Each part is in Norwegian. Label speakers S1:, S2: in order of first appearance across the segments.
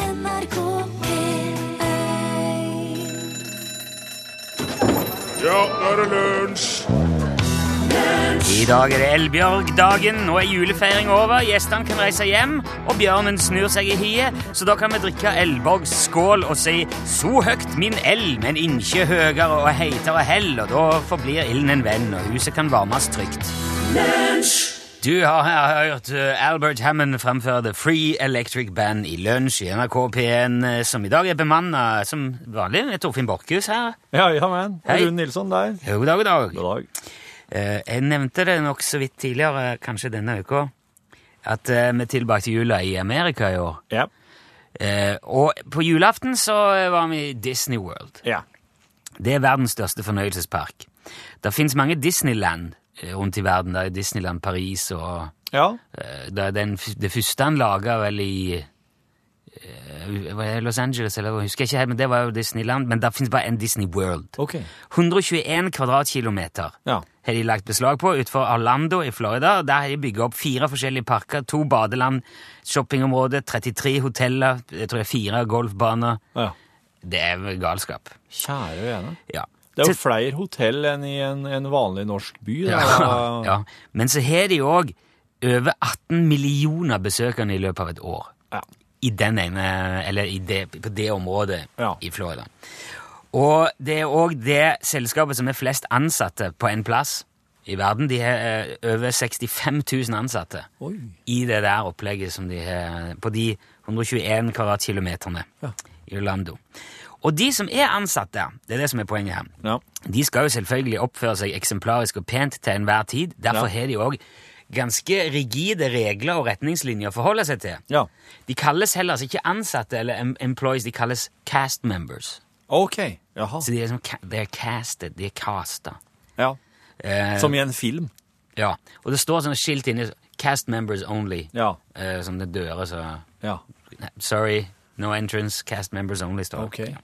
S1: NRK P1
S2: Ja, nå er det lunsj!
S3: I dag er det Elbjørg-dagen. Nå er julefeiring over, gjestene kan reise hjem, og bjørnen snur seg i hiet, så da kan vi drikke Elborgs skål og si «Så høgt min elv, men inkje høgere og heitere hell», og da forblir ilden en venn, og huset kan varmes trygt. Du har her hørt eh, Albert Hammond fremføre The Free Electric Band i lunsj i NRK P1, eh, som i dag er bemannet som vanlig med Torfinn Borkhus her.
S4: Ja, ja, men.
S3: Hei.
S4: Og Rune Nilsson der.
S3: God dag, god dag.
S4: God dag.
S3: Eh, Jeg nevnte det nok så vidt tidligere, kanskje denne uka, at eh, vi tilbrakte jula i Amerika i år.
S4: Ja.
S3: Eh, og på julaften så eh, var vi i Disney World.
S4: ja.
S3: Det er verdens største fornøyelsespark. Det fins mange Disneyland eh, rundt i verden. Det er Disneyland Paris og
S4: Ja,
S3: eh, det, er den, f- det første han laga vel i eh, var det Los Angeles, eller jeg husker ikke helt, men det var jo Disneyland. Men det fins bare en Disney World.
S4: ok.
S3: 121 kvadratkilometer
S4: Ja.
S3: har de lagt beslag på utenfor Orlando i Florida. og Der har de bygget opp fire forskjellige parker, to badeland, shoppingområde, 33 hoteller, jeg tror det er fire golfbaner.
S4: ja.
S3: Det er vel galskap.
S4: Kjære vene.
S3: Ja.
S4: Det er jo
S3: Til-
S4: flere hotell enn i en, en vanlig norsk by. Da.
S3: ja, ja. Men så har de òg over 18 millioner besøkende i løpet av et år.
S4: Ja.
S3: I den ene, eller i det, på det området
S4: Ja.
S3: i Florida. Og det er òg det selskapet som er flest ansatte på en plass i verden. De har eh, over 65 000 ansatte
S4: Oi.
S3: i det der opplegget som de har på de 121 kvadratkilometerne
S4: Ja.
S3: i Orlando. Og de som er ansatt der, det er det som er poenget her,
S4: Ja.
S3: de skal jo selvfølgelig oppføre seg eksemplarisk og pent til enhver tid. Derfor
S4: Ja.
S3: har de òg ganske rigide regler og retningslinjer å forholde seg til.
S4: Ja.
S3: De kalles heller altså ikke ansatte eller em employees, de kalles cast members.
S4: Ok. Jaha.
S3: Så de er, som, ca- de er casted, de er casta.
S4: Ja.
S3: Eh,
S4: Som i en film.
S3: ja. Og det står sånne skilt inni Cast members only,
S4: Ja.
S3: eh, som det dører, så
S4: Ja.
S3: Nei, Sorry, no entrance, cast members only, står det.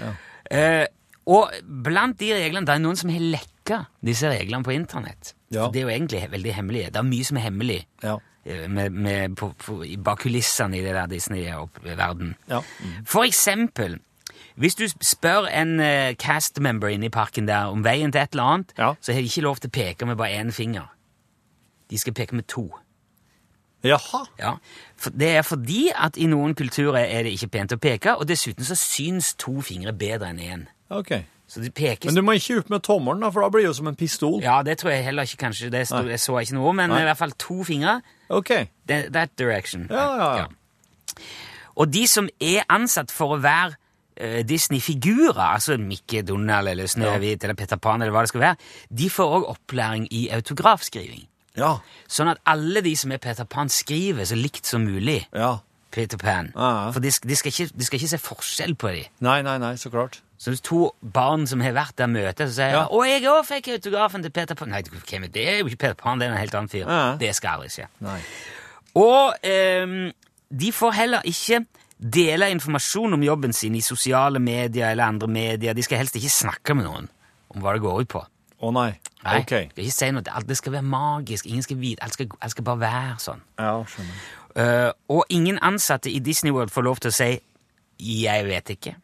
S4: Ok.
S3: Eh, og blant de reglene, det er noen som har lekka disse reglene på internett.
S4: Ja.
S3: For det er jo egentlig he- veldig hemmelig. Det er mye som er hemmelig
S4: Ja.
S3: eh, med, med, på, på, i- bak kulissene i det der Disney-verden.
S4: Ja.
S3: For eksempel, hvis du spør en eh, cast member inne i parken der om veien til et eller annet,
S4: Ja.
S3: så har de ikke lov til å peke med bare én finger. De skal peke med to.
S4: Jaha.
S3: Ja, for Det er fordi at i noen kulturer er det ikke pent å peke, og dessuten så syns to fingre bedre enn én.
S4: Ok.
S3: Så det pekes...
S4: Men du må ikke opp med tommelen, da, for da blir det jo som en pistol.
S3: Ja, det tror jeg heller ikke, kanskje. Det sto,
S4: Nei.
S3: jeg så ikke noe, men
S4: Nei.
S3: i hvert fall to fingre.
S4: Ok.
S3: That, that direction.
S4: Ja, ja, ja.
S3: Og de som er ansatt for å være eh, Disney-figurer, altså Mickey Donald eller Snøhvit eller Peter Pan, eller hva det skal være, de får òg opplæring i autografskriving.
S4: Ja.
S3: Sånn at alle de som er Peter Pan, skriver så likt som mulig.
S4: Ja.
S3: Peter Pan.
S4: Ja, ja.
S3: For de, sk- de, skal ikke, de skal ikke se forskjell på dem.
S4: Nei, nei, nei, så klart.
S3: Så hvis to barn som har vært der, møtes og sier
S4: Ja.
S3: 'Å, jeg òg fikk autografen til Peter Pan.' Nei, hvem er det? det er jo ikke Peter Pan, det er en helt annen fyr.
S4: Ja.
S3: Det skal aldri skje.
S4: Nei.
S3: Og ehm, de får heller ikke dele informasjon om jobben sin i sosiale medier eller andre medier. De skal helst ikke snakke med noen om hva det går ut på.
S4: Å nei.
S3: Nei,
S4: Ok.
S3: de skal ikke si noe. Alt- Det skal være magisk. Ingen skal vite. Alt skal, alt skal bare være sånn.
S4: Ja, skjønner.
S3: Eh, og ingen ansatte i Disney World får lov til å si 'Jeg vet ikke'.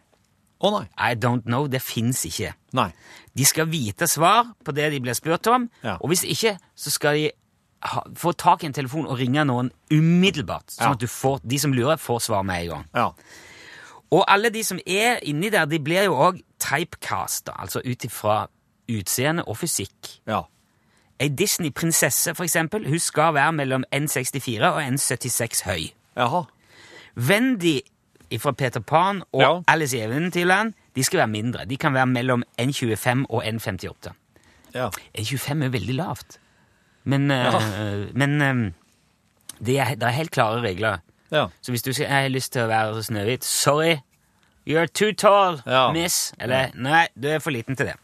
S4: Å nei.
S3: I don't know. Det fins ikke.
S4: Nei.
S3: De skal vite svar på det de blir spurt om,
S4: Ja.
S3: og hvis ikke, så skal de ha, få tak i en telefon og ringe noen umiddelbart, sånn
S4: Ja.
S3: at du får, de som lurer, får svar med en gang.
S4: Ja.
S3: Og alle de som er inni der, de blir jo òg typecasta, altså ut ifra utseende og fysikk.
S4: Ja.
S3: Ei Disney-prinsesse, for eksempel, hun skal være mellom 1,64 og 1,76 høy.
S4: Jaha.
S3: Wendy fra Peter Pan og
S4: Ja.
S3: Alice i Eventyrland, de skal være mindre. De kan være mellom 1,25 og 1,58.
S4: Ja.
S3: 25 E er veldig lavt. Men, eh, men eh, det, er, det er helt klare regler.
S4: Ja.
S3: Så hvis du sier jeg har lyst til å være Snøhvit Sorry, you're too tall,
S4: Ja.
S3: miss. Eller nei, du er for liten til det.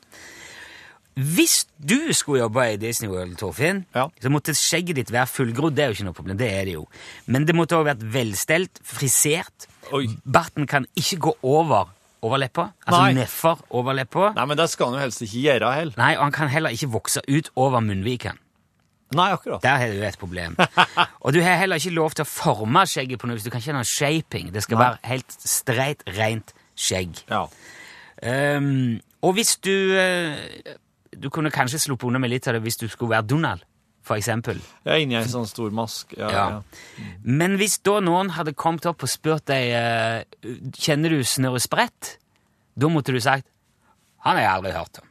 S3: Hvis du skulle jobbe i Disney World, Torfinn,
S4: Ja.
S3: så måtte skjegget ditt være fullgrodd. Det er jo ikke noe problem, det er det jo. Men det måtte også vært velstelt, frisert.
S4: Oi.
S3: Barten kan ikke gå over overleppa. Altså
S4: Nei.
S3: nedfor overleppa.
S4: Nei, men det skal han jo helst ikke gjøre heller.
S3: Nei, og han kan heller ikke vokse ut over munnviken.
S4: Nei, akkurat.
S3: Der har du et problem. Og du har heller ikke lov til å forme skjegget på noe, så du kan ikke ha noe shaping. Det skal
S4: Nei.
S3: være helt streit, rent skjegg.
S4: Ja.
S3: Ehm, og hvis du eh, Du kunne kanskje sluppet unna med litt av det hvis du skulle være Donald, for eksempel.
S4: Jeg er inni ei sånn stor mask. Ja, ja. Mm.
S3: Ja. Men hvis da noen hadde kommet opp og spurt deg eh, Kjenner du Snørre Sprett, da måtte du sagt Han har jeg aldri hørt om.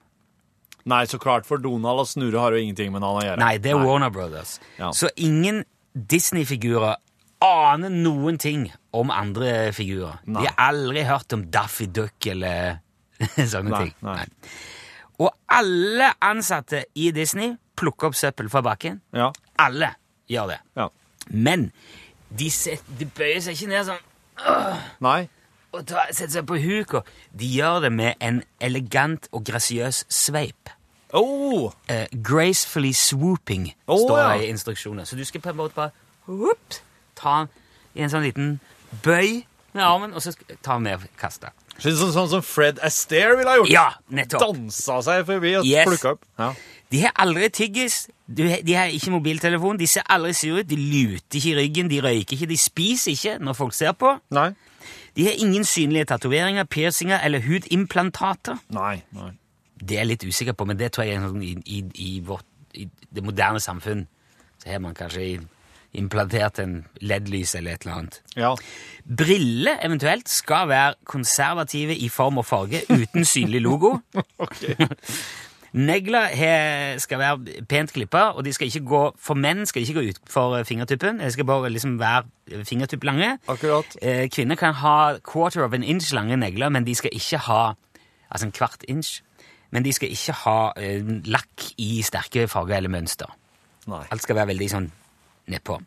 S4: Nei, så klart, for Donald og Snurre har jo ingenting med han å gjøre.
S3: Nei, det er Warner Brothers.
S4: Ja.
S3: Så ingen Disney-figurer aner noen ting om andre figurer.
S4: Nei.
S3: De har aldri hørt om Daffy Duck eller sånne
S4: Nei,
S3: ting.
S4: nei.
S3: Og alle ansatte i Disney plukker opp søppel fra bakken.
S4: Ja,
S3: Alle gjør det.
S4: ja.
S3: Men de, set, de bøyer seg ikke ned sånn
S4: Nei,
S3: og ta, setter seg på huk. og De gjør det med en elegant og grasiøs sveip.
S4: Åh!
S3: Eh, gracefully swooping,
S4: Å,
S3: står
S4: ja.
S3: det i instruksjoner. Så du skal på en måte bare whoop, ta den i en sånn liten bøy med armen, og så sk- ta den med og kaste.
S4: Sånn, sånn, sånn som Fred Astaire ville ha gjort.
S3: Ja, nettopp.
S4: Dansa seg forbi og
S3: Yes.
S4: plukka opp. Ja.
S3: De har aldri tyggis, du he- de har ikke mobiltelefon, de ser aldri sure ut, de luter ikke i ryggen, de røyker ikke, de spiser ikke når folk ser på.
S4: Nei.
S3: De har ingen synlige tatoveringer, piercinger eller hudimplantater.
S4: Nei. Nei.
S3: Det er jeg litt usikker på, men det tror jeg er sånn i, i, i, vårt, i det moderne samfunn. Så har man kanskje implantert en LED-lys eller et eller annet.
S4: Ja.
S3: Briller eventuelt skal være konservative i form og farge, uten synlig logo.
S4: Ok.
S3: Negler he, skal være pent klippa, og de skal ikke gå, for menn skal de ikke gå ut for fingertuppen. De skal bare liksom være fingertupplange.
S4: Akkurat.
S3: Eh, Kvinner kan ha quarter of an inch lange negler, men de skal ikke ha Altså en kvart inch. Men de skal ikke ha eh, lakk i sterke farger eller mønster.
S4: Nei.
S3: Alt skal være veldig sånn nedpå.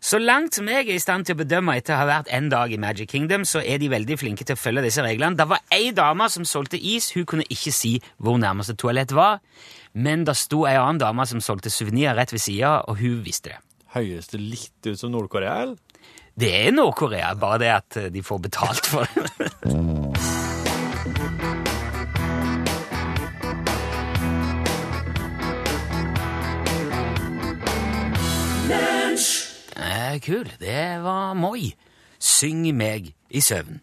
S3: Så langt som jeg er i stand til å bedømme etter å ha vært en dag i Magic Kingdom, så er de veldig flinke til å følge disse reglene. Det var ei dame som solgte is, hun kunne ikke si hvor nærmeste toalett var, men det sto ei annen dame som solgte suvenirer rett ved sida, og hun visste det.
S4: Høyes det litt ut som Nord-Korea, eller?
S3: Det er Nord-Korea, bare det at eh, de får betalt for det. Eh, kul, det var Moi. Syng meg i søvn.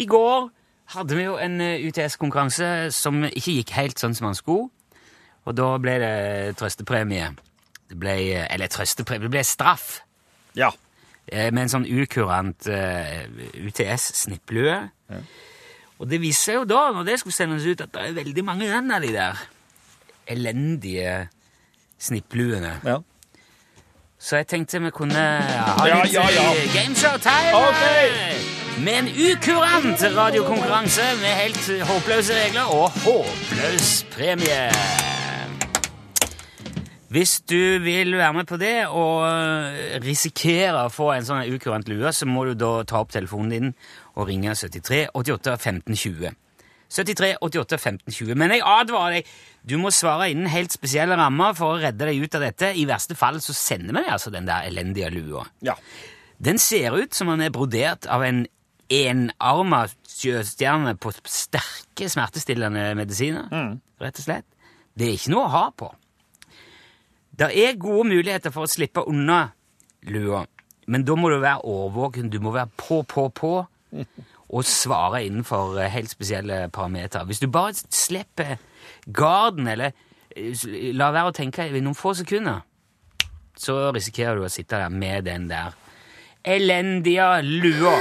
S3: I går hadde vi jo en eh, UTS-konkurranse som ikke gikk helt sånn som man skulle. Og da ble det trøstepremie. Det ble, eh, eller trøstepremie, det ble straff
S4: Ja.
S3: eh, med en sånn ukurant eh, UTS-snipplue. Og det viser seg jo da, når det skulle sendes ut, at det er veldig mange igjen av de der elendige snippluene.
S4: Ja.
S3: Så jeg tenkte vi kunne ha
S4: Ja,
S3: litt
S4: ja, ja.
S3: eh, gameshow-time
S4: Ok.
S3: med en ukurant radiokonkurranse med helt håpløse regler og håpløs premie. Hvis du vil være med på det og eh, risikere å få en sånn ukurant lue, så må du da ta opp telefonen din og ringe 73 88 15 20. 73 88 15 20. Men jeg advarer deg, du må svare innen helt spesielle rammer for å redde deg ut av dette. I verste fall så sender vi deg altså den der elendige lua.
S4: Ja.
S3: Den ser ut som den er brodert av en enarma sjøstjerne på sterke smertestillende medisiner, rett og slett. Det er ikke noe å ha på. Det er gode muligheter for å slippe unna lua, men da må du være årvåken, du må være på, på, på, og svare innenfor eh, helt spesielle parametere. Hvis du bare slipper garden, eller eh, s- la være å tenke i noen få sekunder, så risikerer du å sitte der med den der elendige lua.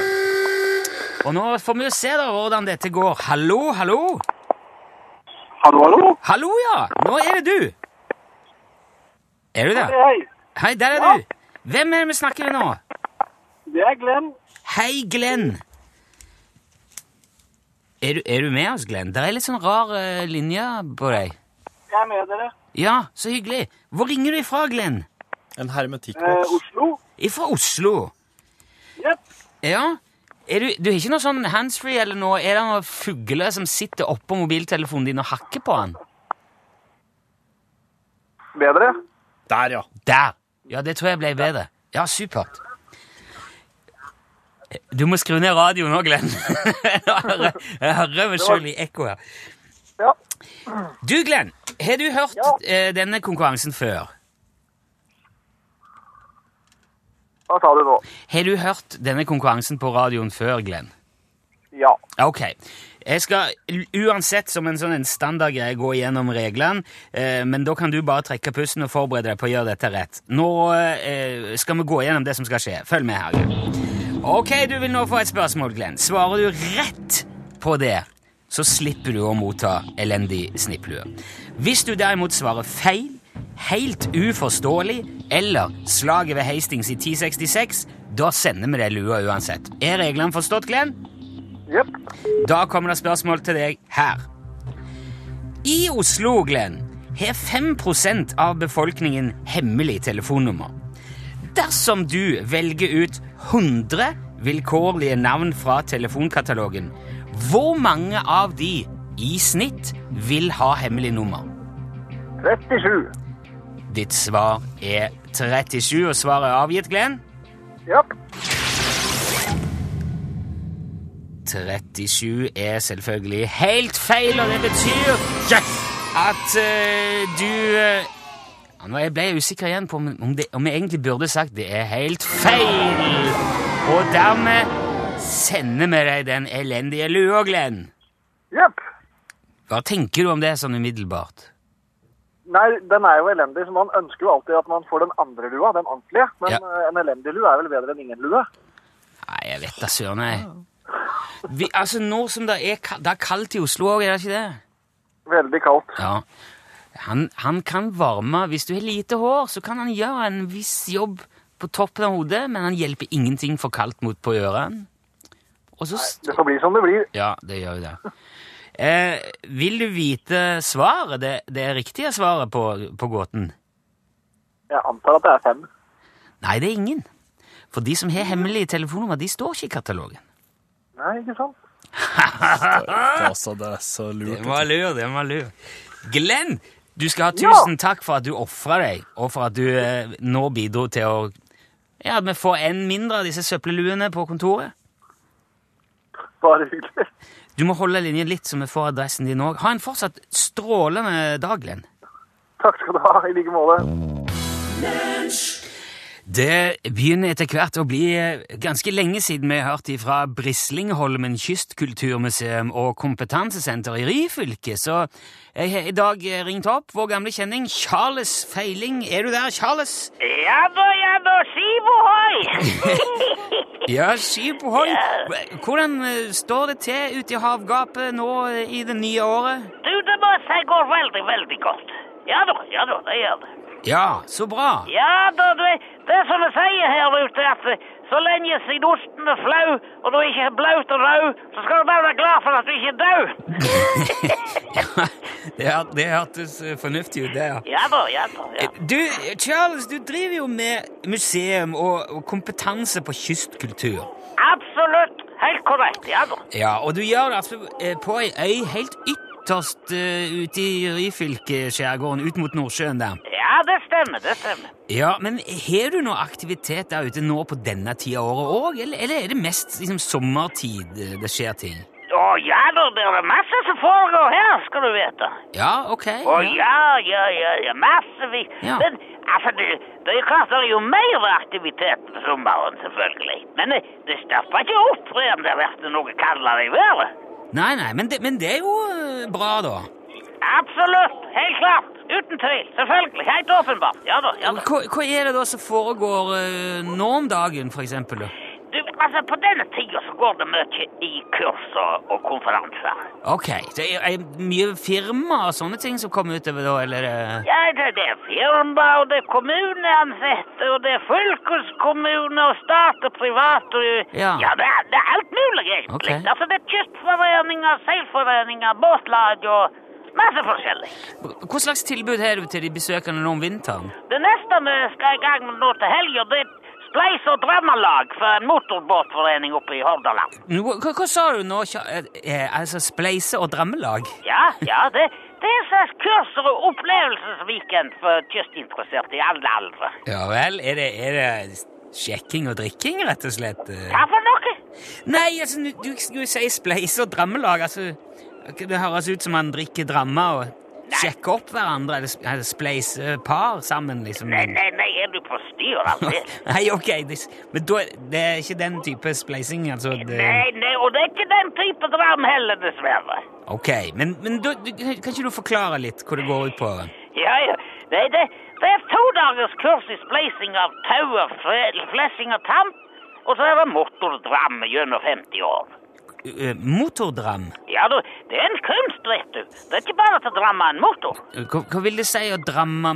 S3: Og nå får vi jo se da hvordan dette går. Hallo, hallo?
S1: Hallo, hallo?
S3: Hallo, ja! Nå er det du. Er du der?
S1: Hei,
S3: Hei, der er du. Hvem er det vi snakker med nå?
S1: det er Glenn.
S3: Hei, Glenn. Er du, er du med oss, Glenn? Det er litt sånn rar eh, linje på deg.
S1: Jeg er med dere.
S3: Ja, så hyggelig. Hvor ringer du ifra, Glenn?
S4: En
S1: Eh,
S4: hermetikkboks.
S1: Oslo?
S3: Ifra Oslo.
S1: Jepp.
S3: Ja. Er du, du har ikke noe sånn handsfree eller noe? Er det noen fugler som sitter oppå mobiltelefonen din og hakker på den?
S1: Bedre?
S4: Der, ja.
S3: Der! Ja, det tror jeg ble bedre. Ja, supert. Du må skru ned radioen nå, Glenn. Jeg hører- Jeg hører meg selv i ekko her.
S1: Ja.
S3: Du, Glenn, har du hørt
S1: Ja.
S3: eh, denne konkurransen før?
S1: Hva sa du nå?
S3: Har du hørt denne konkurransen på radioen før, Glenn?
S1: Ja.
S3: Ok. Jeg skal u- uansett som en sånn en standardgreie gå gjennom reglene, eh, men da kan du bare trekke pusten og forberede deg på å gjøre dette rett. Nå eh, skal vi gå gjennom det som skal skje. Følg med her. Glenn. Ok, du vil nå få et spørsmål, Glenn. Svarer du rett på det, så slipper du å motta elendig snipplue. Hvis du derimot svarer feil, helt uforståelig eller slaget ved Hastings i 1066, da sender vi deg lua uansett. Er reglene forstått, Glenn?
S1: Jepp.
S3: Da kommer det spørsmål til deg her. I Oslo, Glenn, har 5 av befolkningen hemmelig telefonnummer. Dersom du velger ut 100 vilkårlige navn fra telefonkatalogen, hvor mange av de i snitt vil ha hemmelig nummer?
S1: 37.
S3: Ditt svar er 37, og svaret er avgitt, Glenn.
S1: Jepp.
S3: 37 er selvfølgelig helt feil, og det betyr at eh, du eh, ja, Nå ble jeg usikker igjen på om, om, det, om jeg egentlig burde sagt det er helt feil. Og dermed sender vi deg den elendige lua, Glenn.
S1: Jepp.
S3: Hva tenker du om det sånn umiddelbart?
S1: Nei, den er jo elendig, så man ønsker jo alltid at man får den andre lua, den ordentlige. Men
S3: Ja.
S1: eh, en elendig lue er vel bedre enn ingen lue?
S3: Nei, jeg vet da søren, jeg. Vi, altså, nå som det er, ka- det er kaldt i Oslo òg, er det ikke det?
S1: Veldig kaldt.
S3: Ja. Han, han kan varme Hvis du har lite hår, så kan han gjøre en viss jobb på toppen av hodet, men han hjelper ingenting for kaldt mot på ørene. Og så s-
S1: Det får bli som det blir.
S3: Ja, det gjør jo det. Eh, vil du vite svaret? Det, det riktige svaret på, på gåten?
S1: Jeg antar at det er fem.
S3: Nei, det er ingen. For de som har hemmelige telefonnummer, de står ikke i katalogen.
S1: Nei, ikke sant?
S4: Altså, det er så lurt.
S3: Den var lur, den var lur. Glenn, du skal ha
S1: Ja.
S3: tusen takk for at du ofra deg, og for at du eh, nå bidro til å Ja, at vi får en mindre av disse søppelluene på kontoret.
S1: Bare hyggelig.
S3: Du må holde linjen litt, så vi får adressen din òg. Ha en fortsatt strålende dag, Glenn.
S1: Takk skal du ha, i like måte.
S3: Det begynner etter hvert å bli eh, ganske lenge siden vi har hørt ifra Brislingholmen kystkulturmuseum og kompetansesenter i Ryfylke, så jeg har i dag eh, ringt opp vår gamle kjenning Charles Feiling. Er du der, Charles?
S5: Ja da, ja da, skiv ohoi!
S3: Ja, skip og hånd. Hvordan eh, står det til ute i havgapet nå eh, i det nye året?
S5: du, det må jeg si går veldig, veldig godt. Ja da, ja da, det gjør det.
S3: Ja, så bra.
S5: Ja da, du, det som jeg sier her ute, at eh, så lenge sydosten er flau, og du ikke er blaut og rød, så skal du bare være glad for at du ikke er død.
S3: Det, hør- det hørtes eh, fornuftig ut, det, ja.
S5: Ja da, ja da, ja.
S3: Du, eh, Charles, du driver jo med museum og, og kompetanse på kystkultur.
S5: Absolutt, helt korrekt, ja da.
S3: Ja, og du gjør det altså eh, på ei øy helt ytterst eh, ute i Ryfylke-skjærgården, ut mot Nordsjøen der.
S5: Ja, det stemmer, det stemmer.
S3: Ja, men har du noe aktivitet der ute nå på denne tida av året òg, eller, eller er det mest liksom, sommertid eh, det skjer ting?
S5: Å ja da, det er masse som foregår her, skal du vite.
S3: Ja, ok.
S5: Å
S3: ja.
S5: ja, ja, ja, ja, massevis.
S3: Ja.
S5: Men altså, det, det er klart det er jo mer aktivitet på sommeren, selvfølgelig. Men eh, det stopper ikke opp for om det har vært noe kaldere i været.
S3: Nei, nei, men det, men det er jo eh, bra, da.
S5: Absolutt, helt klart. Uten tvil, selvfølgelig. Helt åpenbart. Ja da, ja da.
S3: Hva, hva er det da som foregår eh, nå om dagen, for eksempel? da?
S5: Du, altså, på denne tida så går det mye i kurs og, og konferanser.
S3: Ok, det er, er mye firmaer og sånne ting som kommer utover da, eller? eh?
S5: Ja, det, det er firma, og det er kommuneansatte, og det er fylkeskommune og stat og privat og
S3: Ja.
S5: ja det, er, det er alt mulig, egentlig.
S3: Ok.
S5: Altså, det er kystforeninger, seilforeninger, båtlag og masse forskjellig.
S3: Hva slags tilbud har du til de besøkende nå om vinteren?
S5: Det neste vi skal i gang med nå til helga, det er Spleis og Drømmelag for en motorbåtforening oppe i Hordaland.
S3: Nå, hva, hva sa du nå? Kja- eh, eh, altså, spleise og drømmelag?
S5: Ja, ja, det, det er slags kurser og opplevelsesweekend for kystinteresserte i alle aldre.
S3: Ja vel, er det, er det sjekking og drikking, rett og slett? eh?
S5: Hva for noe?
S3: Nei, altså, du, du skulle jo si spleise og drammelag. Altså, det høres ut som man drikker dramme og sjekker opp hverandre, eller, sp- eller spleiser eh, par sammen, liksom.
S5: Nei, nei, nei, er du på altså? sti, de gjør alt det.
S3: Nei, ok, det, men da, det er ikke den type spleising, altså? Det,
S5: Nei, nei, og det er ikke den type dram heller, dessverre.
S3: ok, men, men da, du, kan ikke du forklare litt hva det går ut på?
S5: Ja, ja. Nei, det, det er to dagers kurs i spleising av tau og fre- flessing og tam, og så er det motordram gjennom 50 år.
S3: Eh, Motordram?
S5: Ja, du, det er en kunst, vet du. Det er ikke bare til å dramme en motor.
S3: Hva, hva vil det si å dramme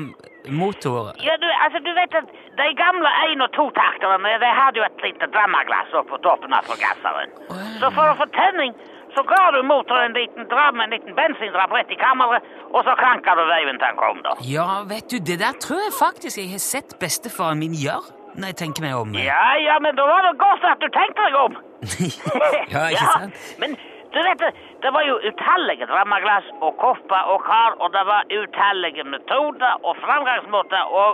S3: motor?
S5: Ja, du, altså, du vet at de gamle en- og totakterne, de hadde jo et lite drammaglass oppe på toppen av forgasseren. Så for å få tenning, så ga du motoren en liten dram, en liten bensindrapp rett i kammeret, og så kranka du veien til han kom, da.
S3: Ja, vet du, det der tror jeg faktisk jeg har sett bestefaren min gjøre. Når jeg tenker meg om.
S5: Ja, ja, men da var det godt at du tenkte deg om.
S3: ja, ikke sant?
S5: Men du vet, det, det var jo utallige drammaglass og kopper og kar, og det var utallige metoder og framgangsmåter og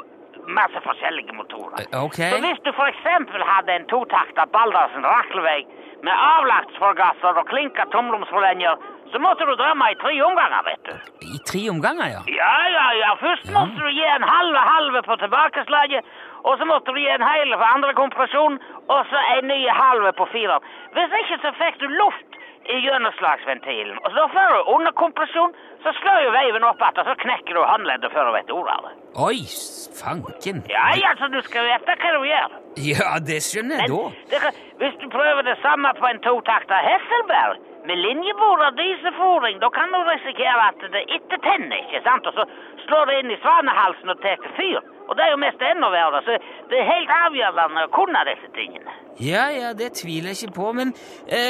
S5: masse forskjellige motorer.
S3: Eh, Ok.
S5: Så hvis du for eksempel hadde en totakta Baldersen Raklevei med avlagtsforgasser og klinka tomromsforlenger, så måtte du drømme i tre omganger, vet du.
S3: I tre omganger, ja.
S5: Ja, ja, ja. Først måtte du gi en halv og halve på tilbakeslaget, og så måtte du gi en hel på andre kompresjon, og så en ny halve på fireren. Hvis ikke så fikk du luft i gjennomslagsventilen, og så får du underkompresjon, så slår jo veiven opp igjen, og så knekker du håndleddet før du vet ordet av det.
S3: Oi, s- fanken.
S5: Ja, ja, så du skal vite hva du gjør.
S3: Ja, det skjønner jeg da.
S5: det, hvis du prøver det samme på en totakta Hesselberg, med linjebord og dieselfòring, da kan du risikere at det ikke tenner, ikke sant? Og så slår det inn i svanehalsen og tar fyr. Og det er jo mest enda verre, så det er helt avgjørende å kunne disse tingene.
S3: Ja, ja, det tviler jeg ikke på, men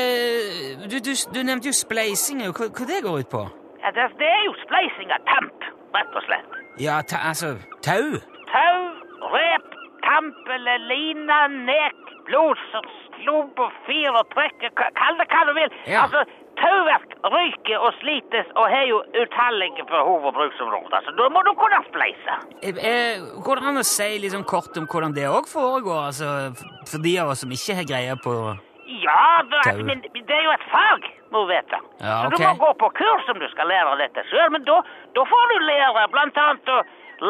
S3: eh, du, du, du nevnte jo spleising, og hva, hva det går ut på?
S5: Ja, det, det er jo spleising av tamp, rett og slett.
S3: Ja, ta, altså, tau?
S5: Tau, rep, tamp eller line, nek, bloser, slob og fyr og trekke, k- kall det hva du vil.
S3: Ja.
S5: Altså, tauverk ryker og slites og har jo utallige behov og bruksområder, så da må du kunne spleise.
S3: Eh, eh, går det an å si litt sånn kort om hvordan det òg foregår, altså, f- for de av oss som ikke har greie på
S5: Ja, da,
S3: Tau.
S5: men det er jo et fag, må du vite.
S3: Ja,
S5: Så
S3: ok.
S5: du må gå på kurs om du skal lære dette sjøl, men da, da får du lære blant annet å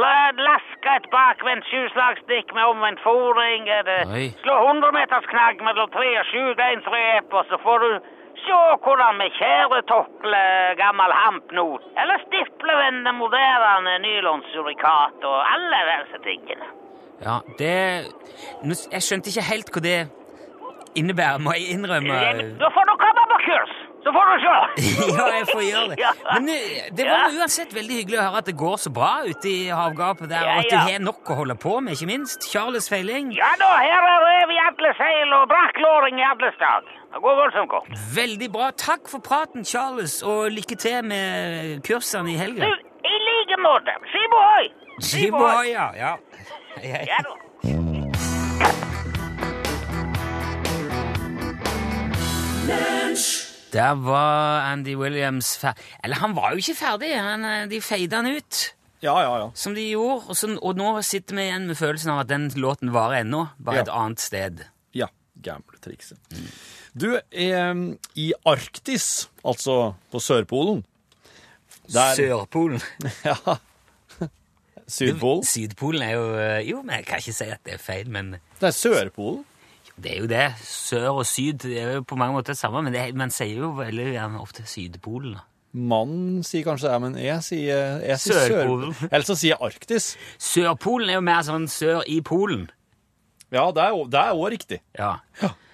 S5: la- laske et bakvendt sjuslagstikk med omvendt fòring, eller
S3: Oi.
S5: slå 100-metersknagg mellom tre og sju beinsrep, og så får du se hvordan vi tjæretokle gammel hampnot, eller stiplevende moderne nylonsurikat og alle disse tingene.
S3: Ja, det Nå s- Jeg skjønte ikke helt hva det innebærer, må jeg innrømme.
S5: Da får du komme på kurs, så får du se.
S3: ja, jeg får gjøre det.
S5: Ja.
S3: Men eh, det var jo uansett veldig hyggelig å høre at det går så bra ute i havgapet der,
S5: Ja,
S3: og at
S5: ja.
S3: du har nok å holde på med, ikke minst. Charles Feiling,
S5: Ja da, her er rev i alle seil og brakklåring i alle stad. Det går voldsomt godt.
S3: veldig bra. Takk for praten, Charles, og lykke til med kursene i
S5: Du,
S3: helga.
S5: i like måte. Skibohoi!
S3: Skiboy, ja. ja. Hei, hei.
S5: Ja da.
S3: Der var Andy Williams ferdig Eller, han var jo ikke ferdig. Han, eh, de feide han ut.
S4: Ja, ja, ja.
S3: Som de gjorde, og, så, og nå sitter vi igjen med følelsen av at den låten varer ennå, bare
S4: Ja.
S3: et annet sted.
S4: Ja, gamle trikset. Du, eh, i Arktis, altså på Sørpolen der-
S3: Sørpolen.
S4: Ja. Sydpolen?
S3: Sydpolen er jo eh, Jo, men jeg kan ikke si at det er feil, men
S4: Det er Sørpolen.
S3: det er jo det. Sør og syd det er jo på mange måter det samme, men det, man sier jo veldig gjerne ofte Sydpolen. da.
S4: Mannen sier kanskje det, men jeg sier, jeg sier
S3: Sørpolen.
S4: Sørpolen. Eller så sier jeg Arktis.
S3: Sørpolen er jo mer sånn sør i Polen.
S4: Ja, det er jo- det er òg riktig.
S3: Ja.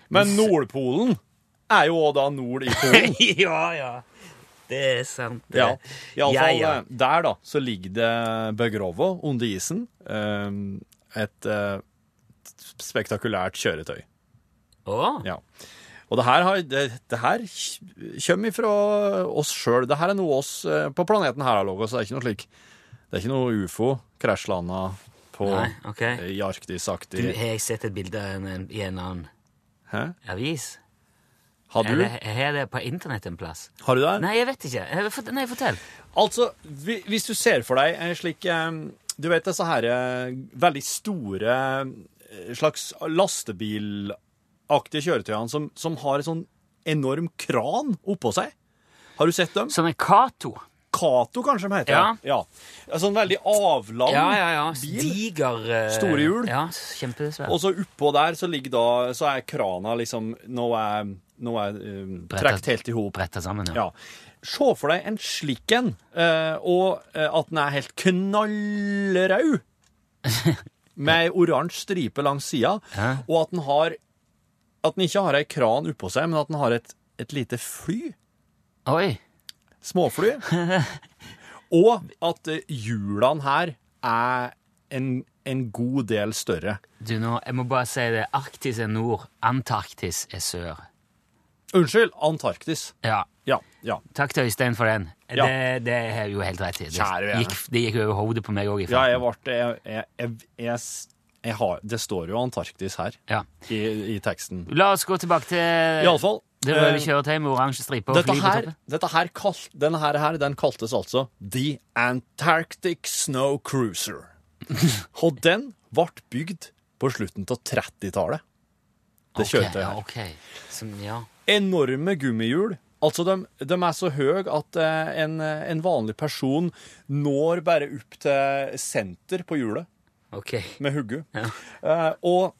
S4: Men Nordpolen er jo òg da nord i Polen.
S3: ja, ja. Det er sant. det.
S4: Ja, iallfall
S3: ja,
S4: ja, eh, der, da, så ligger det Begrovo under isen. eh, Et eh, spektakulært kjøretøy.
S3: Å,
S4: Ja. Og det her, har, det, det her kommer fra oss sjøl. Det her er noe oss eh, på planeten her har laget, så det er ikke noe slik Det er ikke noe ufo krasjlanda på
S3: Nei, ok.
S4: i
S3: Du,
S4: Arktis-aktig
S3: har jeg sett et bilde av en- en- i en annen
S4: Hæ?
S3: avis?
S4: Har du,
S3: Eller har jeg det på internett en plass?
S4: har du det?
S3: Nei, jeg vet ikke. Eh, fort- Nei, fortell.
S4: Altså, hvi- hvis du ser for deg en slik eh, Du vet disse her eh, veldig store eh, slags lastebilaktige kjøretøyene som, som har en sånn enorm kran oppå seg. Har du sett dem?
S3: Sånn en Cato.
S4: Ducato, kanskje de heter.
S3: Ja.
S4: ja. En Sånn veldig avlang
S3: Ja, ja, ja.
S4: bil.
S3: Diger eh,
S4: Store hjul.
S3: Ja, kjempesvær.
S4: Og så oppå der så ligger da Så er krana liksom Nå er, nå er eh, trekt helt i hop.
S3: Bretta sammen, ja.
S4: Ja. Se for deg en slik en, eh, og eh, at den er helt knallrød. Med ei oransje stripe langs sida,
S3: Ja.
S4: og at den har At den ikke har ei kran oppå seg, men at den har et, et lite fly.
S3: Oi.
S4: Småfly. og at eh, hjulene her er en, en god del større.
S3: Du, nå, jeg må bare si det. Arktis er nord, Antarktis er sør.
S4: Unnskyld, Antarktis.
S3: Ja.
S4: Ja. ja.
S3: Takk til Øystein for den.
S4: Ja.
S3: Det, det har du jo helt rett i. Det
S4: Kjære vene.
S3: gikk, det gikk over hodet på meg òg.
S4: Ja, jeg ble jeg, jeg, jeg, jeg, jeg har, Det står jo Antarktis her
S3: Ja.
S4: i, i teksten.
S3: La oss gå tilbake til
S4: Iallfall.
S3: det røde kjøretøyet med oransje stripe og
S4: eh, Dette
S3: fly på
S4: her,
S3: toppen.
S4: dette her kalt, denne her, her, den kaltes altså The Antarctic Snow Cruiser. Og den ble bygd på slutten av 30-tallet. Det
S3: Ok,
S4: kjøretøyet
S3: ja,
S4: her.
S3: ok. Som, ja.
S4: Enorme gummihjul. Altså, de, de er så høye at eh, en, en vanlig person når bare opp til senter på hjulet
S3: Ok.
S4: med hugget.
S3: Ja.
S4: Eh, og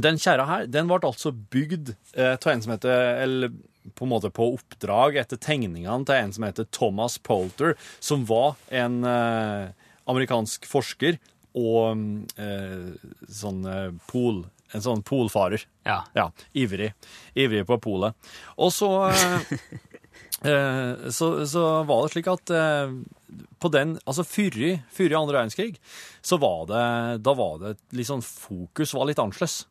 S4: den kjerra her, den ble altså bygd eh, av en som heter Eller på en måte på oppdrag etter tegningene til en som heter Thomas Polter, som var en eh, amerikansk forsker og mm, eh, sånn eh, pol En sånn polfarer.
S3: Ja.
S4: Ja, ivrig. Ivrig på polet. Og så eh, eh, så, så var det slik at eh, på den, altså før i før i andre verdenskrig, så var det, da var det litt sånn fokus var litt annerledes.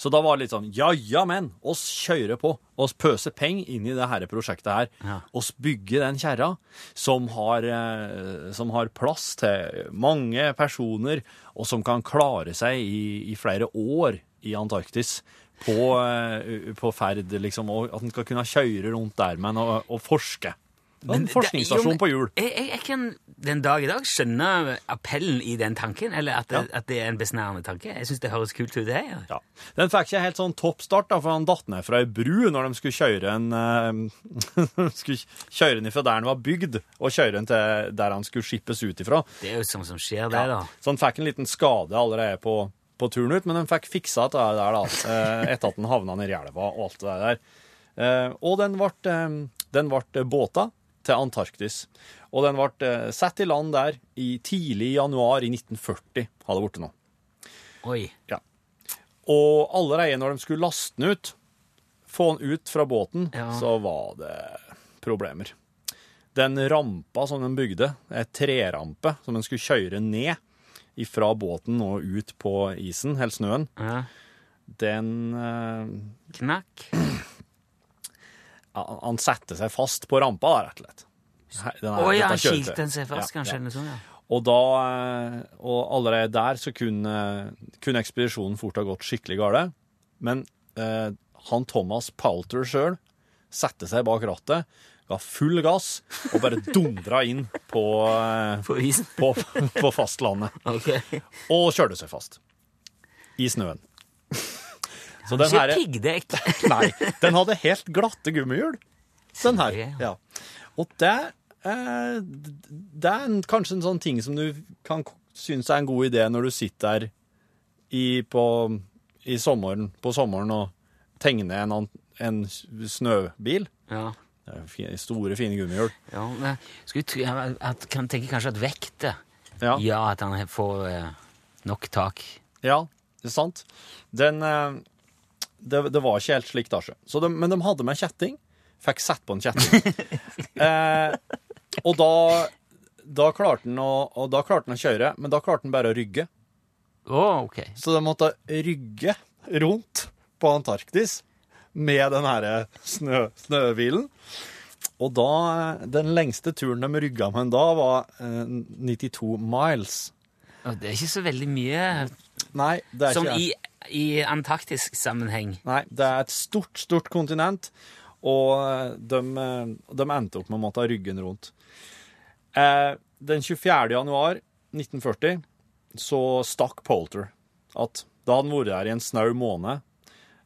S4: Så da var det litt sånn, ja, ja, men, oss kjører på, oss pøser penger inn i det her prosjektet her,
S3: Ja.
S4: oss bygger den kjerra som har, eh, som har plass til mange personer, og som kan klare seg i, i flere år i Antarktis, på, eh, på ferd, liksom, og at den skal kunne kjøre rundt der, men, og, og forske. En
S3: det- jo, men
S4: forskningsstasjon på hjul.
S3: Jeg, jeg, jeg kan den dag i dag skjønne appellen i den tanken, eller at det, at det er en besnærende tanke. Jeg syns det høres kult ut, det her.
S4: Ja. Den fikk ikke helt sånn topp start, da, for han datt ned fra ei bru når de skulle kjøre en eh, skulle kjøre den ifra der den var bygd, og kjøre den til der han skulle skippes ut ifra.
S3: Det er jo sånt som skjer, det, da.
S4: Ja. Så han fikk en liten skade allerede på, på turen ut, men han fikk fiksa dette der, da, eh, etter at han havna nedi elva og alt det der. Eh, og den ble, eh, den ble båta til Antarktis. Og den ble eh, satt i land der i tidlig januar i 1940, har det blitt nå.
S3: Oi.
S4: Og allerede når de skulle laste den ut, få den ut fra båten,
S3: Ja.
S4: så var det problemer. Den rampa som de bygde, en trerampe som de skulle kjøre ned fra båten og ut på isen, eller snøen,
S3: Ja.
S4: den eh,
S3: Knakk.
S4: Han han satte seg fast på rampa, da, rett og slett. Her- den her-
S3: Oi,
S4: dette
S3: han
S4: kjøretøyet.
S3: kilte seg fast,
S4: Ja,
S3: kanskje.
S4: ja.
S3: eller sånn, ja.
S4: Og, da, eh, og allerede der så kunne, kunne ekspedisjonen fort ha gått skikkelig gale. Men eh, han Thomas Poulter sjøl satte seg bak rattet, ga full gass og bare dundra inn på, eh,
S3: På isen.
S4: på, på fastlandet.
S3: Ok.
S4: Og kjørte seg fast. I snøen. Så den
S3: Ikke
S4: her
S3: piggdekk.
S4: Nei, den hadde helt glatte gummihjul. Den her.
S3: Sier jeg,
S4: Ja. Og det, eh, det er en, kanskje en sånn ting som du kan k- synes er en god idé når du sitter der i, på, i sommeren, på sommeren og tegner en, an- en s- snøbil.
S3: Ja.
S4: Det er fi- Store, fine gummihjul.
S3: ja men, skulle tro, jeg, jeg kan tenke kanskje at vektet
S4: Ja.
S3: Ja, at han he- får eh, nok tak.
S4: Ja, det er sant. Den, eh, det, det var ikke helt slik da, sjø. Så de, men de hadde med kjetting. Fikk sett på en kjetting. eh, og da, da, klarte den å, og da klarte den å kjøre, men da klarte den bare å rygge.
S3: Å, ok.
S4: Så de måtte rygge rundt på Antarktis med den her eh, snø, snøhvilen. Og da, eh, den lengste turen de rygga med da, var eh, 92 miles.
S3: Og det er ikke så veldig mye
S4: Nei, det er
S3: som
S4: ikke
S3: i, i antarktisk sammenheng.
S4: Nei, det er et stort, stort kontinent, og eh, de, de endte opp med å måtte ha ryggen rundt. Eh, Den 24. januar 1940 så stakk Polter at da hadde han vært her i en snau måned.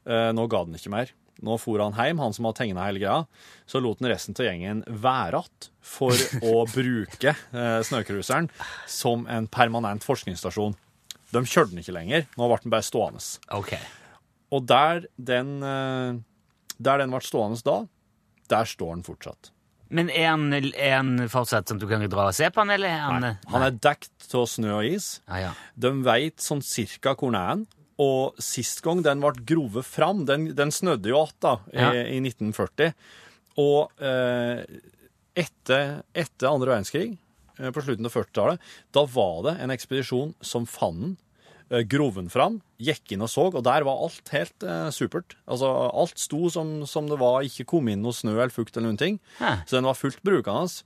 S4: Eh, Nå ga den ikke mer. Nå for han hjem, han som hadde tegna hele greia. Så lot han resten av gjengen være att for å bruke eh, snøcruiseren som en permanent forskningsstasjon. De kjørte den ikke lenger. Nå ble den bare stående.
S3: Ok.
S4: Og der den, eh, der den ble stående da, der står den fortsatt.
S3: Men er han, er han fortsatt sånn at du kan dra og se på han, eller er han
S4: Han er dekt av snø og is.
S3: Ja, ja.
S4: De veit sånn cirka hvor den er. Og sist gang den ble grovet fram, den, den snødde jo att da, i,
S3: Ja.
S4: i 1940. Og eh, etter, etter andre verdenskrig, eh, på slutten av 40-tallet, da var det en ekspedisjon som fant den, eh, grov den fram, gikk inn og så, og der var alt helt eh, supert. Altså, alt sto som, som det var, ikke kom inn noe snø eller fukt eller noen ting.
S3: Hæ.
S4: Så den var fullt brukende.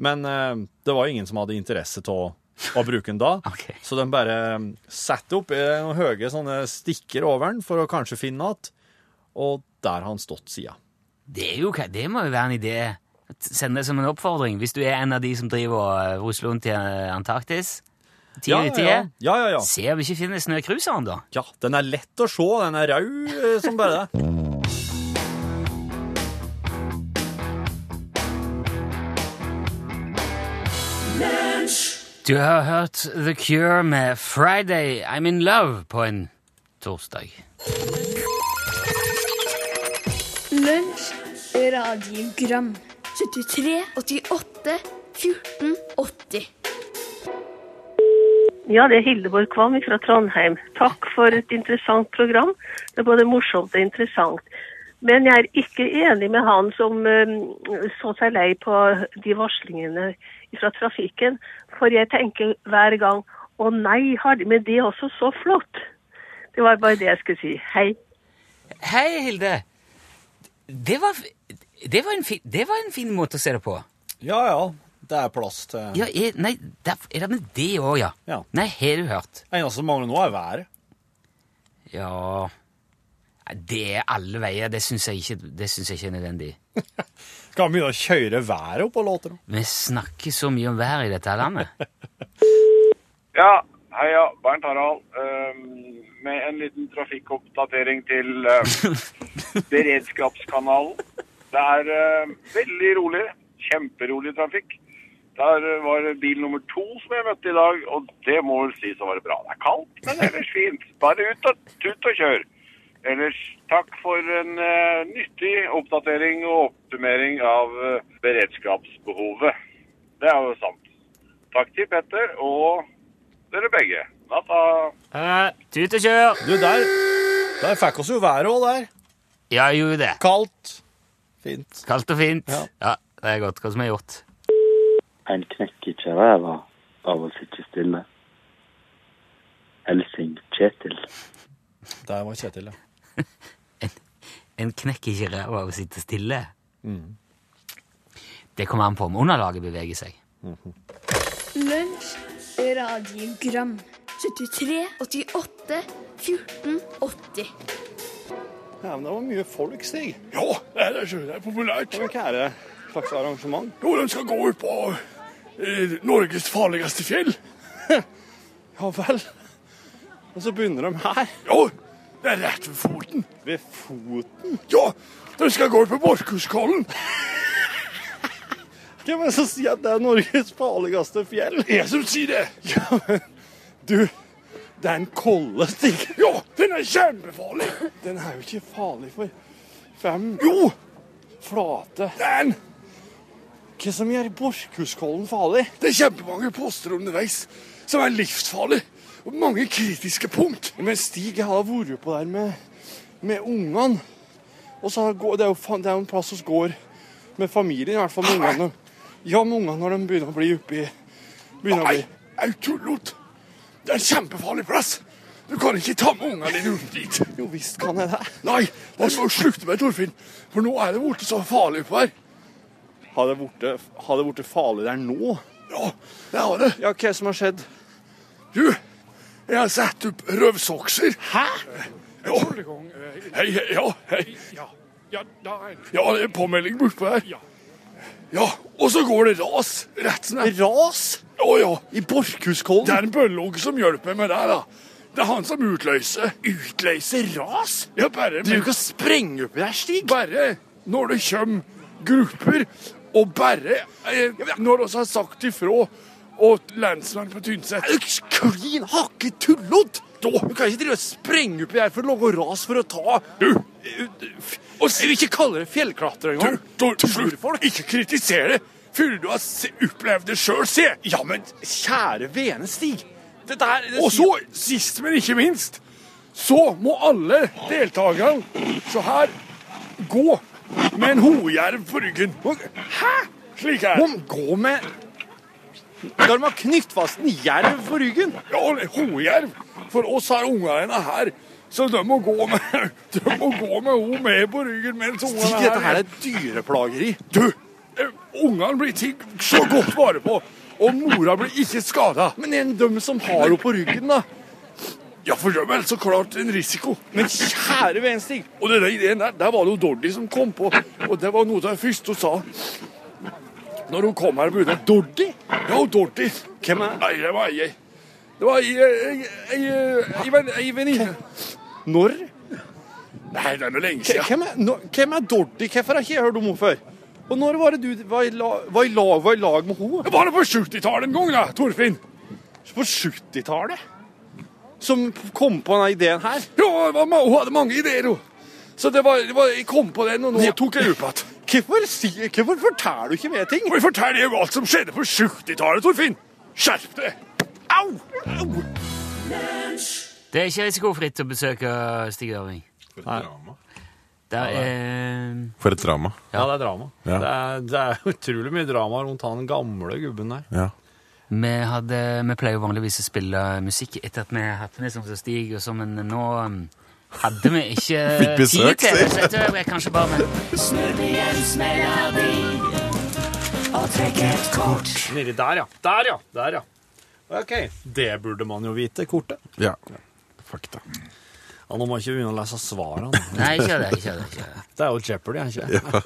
S4: Men eh, det var jo ingen som hadde interesse av å bruke den da.
S3: Ok.
S4: Så de bare eh, satte opp eh, noen høye sånne stikker over den for å kanskje finne den igjen. Og der har han stått siden.
S3: Det, er jo, ka- det må jo være en idé. Send det som en oppfordring hvis du er en av de som driver og rusler rundt i eh, Antarktis. Ti
S4: Ja,
S3: av ti.
S4: ja, ja. ja, ja, ja.
S3: Se om vi ikke finner snøcruiseren, da.
S4: Ja, den er lett å se. Den er rød eh, som bare det.
S3: Du har hørt The Cure med Friday I'm in love på en torsdag.
S6: Lunsj, radiogram 73, 88, 14, 80
S7: Ja, det er Hildeborg Kvam fra Trondheim. Takk for et interessant program. Det er både morsomt og interessant. Men jeg er ikke enig med han som eh, så seg lei på de varslingene fra trafikken. For jeg tenker hver gang å nei, har de med det også så flott? Det var bare det jeg skulle si. Hei.
S3: Hei, Hilde. Det var, det, var en fin, det var en fin måte å se det på.
S4: Ja, ja. Det er plass til
S3: Ja, er, nei, der, er det med det òg, ja?
S4: Ja.
S3: Nei, har du hørt?
S4: eneste som mangler nå, er været.
S3: Ja Nei, Det er alle veier. Det syns jeg, ikke- det syns jeg ikke er nødvendig.
S4: Skal vi begynne å kjøre været opp på låter nå?
S3: Vi snakker så mye om været i dette her landet.
S8: Ja, heia, Bernt Harald. Ehm, med en liten trafikkoppdatering til eh, Beredskapskanalen. Det er eh, veldig rolig. Kjemperolig trafikk. Der eh, var det bil nummer to som jeg møtte i dag, og det må vel sies å være bra. Det er kaldt, men ellers fint. Bare ut og, ut og kjør. Ellers takk for en eh, nyttig oppdatering og oppsummering av eh, beredskapsbehovet. Det er jo sant. Takk til Petter og dere begge. Natta.
S3: Eh, Tut og kjør!
S4: Du, der, der fikk oss jo været òg, der.
S3: Ja, jeg gjorde det.
S4: Kaldt. Fint.
S3: Kaldt og fint.
S4: Ja.
S3: Ja, det er godt. Hva som er gjort.
S9: En knekker ikke ræva av å sitte stille. Helsing Kjetil.
S4: Der var Kjetil, ja.
S3: En knekker ikke ræva av å sitte stille.
S10: Mm.
S3: Det kommer an på om underlaget beveger seg.
S6: Lunsj, radiogram 73, 88, 14, 80
S9: Ja, men det var mye folk, Stig.
S2: Ja, det er, det er populært.
S9: Hva er det slags arrangement?
S2: Jo, de skal gå ut på eh, Norges farligste fjell.
S9: Ja vel. Og så begynner de her.
S2: Jo, det er rett ved foten.
S9: Ved foten.
S2: Ja, de skal gå ut på Borkhuskollen.
S9: Hvem er det som sier at det er Norges farligste fjell?
S2: Jeg som sier det.
S9: Ja, men du, det er en kolle, Stig.
S2: Ja, den er kjempefarlig.
S9: Den er jo ikke farlig for fem
S2: Jo,
S9: flate.
S2: den.
S9: Hva som gjør Borkhuskollen farlig?
S2: Det er kjempemange poster underveis som er livsfarlig. Og mange kritiske punkt.
S9: Men Stig, jeg har vært på der med, med ungene. Og så har jeg gå- det, er jo, fa- det er jo en plass hos går med familien, i hvert fall med ungene. Ja, med ungene når de begynner å bli oppi begynner å
S2: Nei,
S9: bli.
S2: jeg tullot. Det er en kjempefarlig plass. Du kan ikke ta med ungene dine rundt dit.
S9: Jo visst kan jeg det.
S2: Nei, og så slutte med Torfinn, for nå er det borte så farlig på her.
S9: Har det borte- har det blitt farlig der nå?
S2: Ja, det har det.
S9: Ja, hva er det som har skjedd?
S2: Du, jeg har satt opp røvsokser. Hæ? Ja. Hei, hei, ja, hei. Ja, det er en påmelding bortpå her. Ja. og så går det ras rett sånn her.
S9: Ras
S2: Ja, ja.
S9: i Borkhuskollen?
S2: Det er en bøllogg som hjelper meg med det, da. Det er han som utløser Utløser ras? Ja, bare
S9: Du kan sprenge oppi der, Stig.
S2: Bare når det kommer grupper, og bare eh, når vi har sagt ifra og lensmannen på Tynset
S9: Du klin hakke tullot! Du kan ikke drive og sprenge oppi der for å lage ras for å ta
S2: Du,
S9: Og Jeg vil ikke kalle det fjellklatre
S2: du,
S9: engang.
S2: du, slutt! Ikke kritiser det før du har se- opplevd det sjøl, se! Ja, men
S9: Kjære vene, Stig. Det der det
S2: Og så, sist men ikke minst, så må alle deltakerne se her gå med en hojerv på ryggen. Hæ? Slik her.
S9: Må gå med Da har man knytt fast en jerv på ryggen.
S2: Ja, og hojerv. For oss har ungene her. Så de må gå med De må gå med ho med på ryggen mens
S9: Stig,
S2: ungene
S9: dette her
S2: her
S9: er dyreplageri.
S2: Du! eh, Ungene blir ting så godt vare på. Og mora blir ikke skada.
S9: Men en døm som har henne på ryggen, da.
S2: Ja, for dem er det så klart en risiko.
S9: Men kjære vene, Stig.
S2: Og det der, ideen der, der var det jo Dordi som kom på, og det var noe av det første hun sa. Når hun kom her på UD. Dordi? Ja, Dordi.
S9: Hvem er
S2: Nei, det var jeg. Det var jeg, jeg, jeg, jeg, jeg, jeg venninne.
S9: Når?
S2: Nei, det er nå lenge
S9: K-
S2: siden.
S9: Hvem er, når, hvem er Dordi? Hvorfor har ikke jeg hørt om henne før? Og når var det du var i, la, var i, lag, var i lag med henne?
S2: Det var det på 70-tallet en gang, da, Torfinn.
S9: På 70-tallet? Som kom på denne ideen her?
S2: Ja, det var, ma- hun hadde mange ideer, hun. Så det var, det var, jeg kom på den, og nå
S9: Ja.
S2: tok jeg opp igjen.
S9: Hvorfor, si, hvorfor forteller du ikke meg ting?
S2: Må jeg fortelle deg om alt som skjedde på 70-tallet, Torfinn? Skjerp deg! Au! Au!
S3: Det er ikke risikofritt å besøke Stig Døring. Det er
S10: For et drama.
S4: Ja, det er drama.
S10: Ja.
S4: Det, er, det er utrolig mye drama rundt han gamle gubben der.
S10: Ja.
S3: Vi, hadde, vi pleier jo vanligvis å spille musikk etter at vi har hatt med som så Stig, og så, men nå um, hadde vi ikke
S10: Fikk besøk,
S3: tid til det.
S10: sier.
S3: Så jeg tror jeg kanskje bare
S4: Nedi der, ja. Der, ja. Der, ja. Ok. Det burde man jo vite, kortet.
S10: ja. Fakta.
S4: Ja, nå må jeg ikke begynne å lese svarene.
S3: Nei, ikke gjør det. ikke gjør det, ikke gjør det.
S4: Det er jo Jeopardy, er ikke det?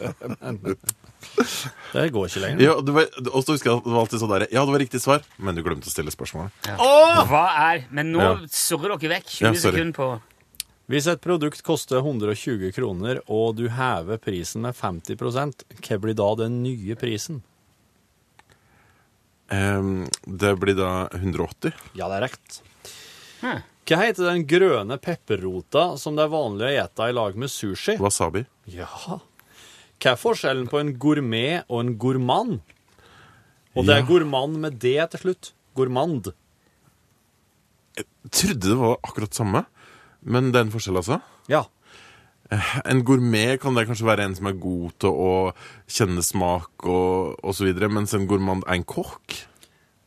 S4: det går ikke lenger.
S10: Ja, og det var, og så husker jeg at det var alltid sånn der Ja, det var riktig svar, men du glemte å stille spørsmålet.
S3: Hva er Men nå
S10: Ja.
S3: surrer dere vekk
S10: Ja, sorry.
S3: 20 sekunder på
S4: Hvis et produkt koster 120 kroner, og du hever prisen med 50 hva blir da den nye prisen?
S10: Ehm, det blir da 180.
S4: Ja, det er rett.
S3: Hm.
S4: Hva heter den grønne pepperrota som det er vanlig å ete i lag med sushi?
S10: Wasabi.
S4: Ja. Hva er forskjellen på en gourmet og en gourmand? Og det er
S10: Ja.
S4: gourmand med D til slutt. Gourmand.
S10: Trodde det var akkurat samme, men det er en forskjell, altså.
S4: Ja.
S10: En gourmet kan det kanskje være en som er god til å kjenne smak og, og så videre, mens en gourmand er en kokk.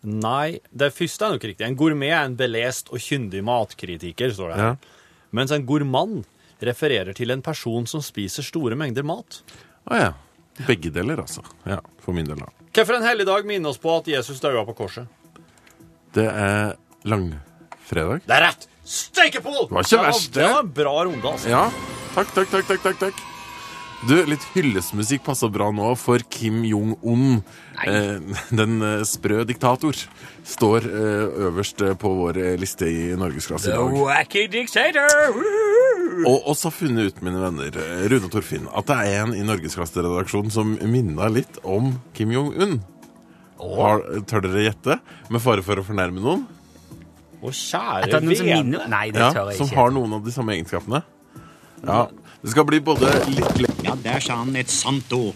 S4: Nei, det første er nok riktig. En gourmet er en belest og kyndig matkritiker, står det
S10: Ja.
S4: her. Mens en gourmand refererer til en person som spiser store mengder mat.
S10: Å ja. Begge deler, altså. Ja, For min del, da.
S4: Hvorfor en helligdag minner oss på at Jesus daua på korset?
S10: Det er langfredag.
S4: Det er rett! Steikepol!
S10: var ikke verst,
S4: det.
S10: det.
S4: var en bra runde, altså.
S10: Ja. Takk, takk, takk, takk. takk, takk. Du, litt hyllestmusikk passer bra nå for Kim Jong-un. Eh, den eh, sprø diktator står eh, øverst eh, på vår eh, liste i norgesklasse i
S3: The
S10: dag.
S3: Wacky Dictator!
S10: Og oss har funnet ut, mine venner, eh, Rune og Torfinn, at det er en i Norgesklasseredaksjonen som minna litt om Kim Jong-un. Har- Tør dere gjette? Med fare for å fornærme noen?
S4: Å,
S3: At det
S4: kjære
S3: er noen som
S4: vene.
S3: minner Nei, det
S10: Ja,
S3: tør jeg
S10: som
S3: ikke.
S10: har noen av de samme egenskapene? Ja. Det skal bli både litt le-
S11: Ja, der sa han et sant ord.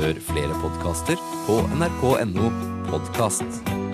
S12: Hør flere podkaster på nrk.no podkast.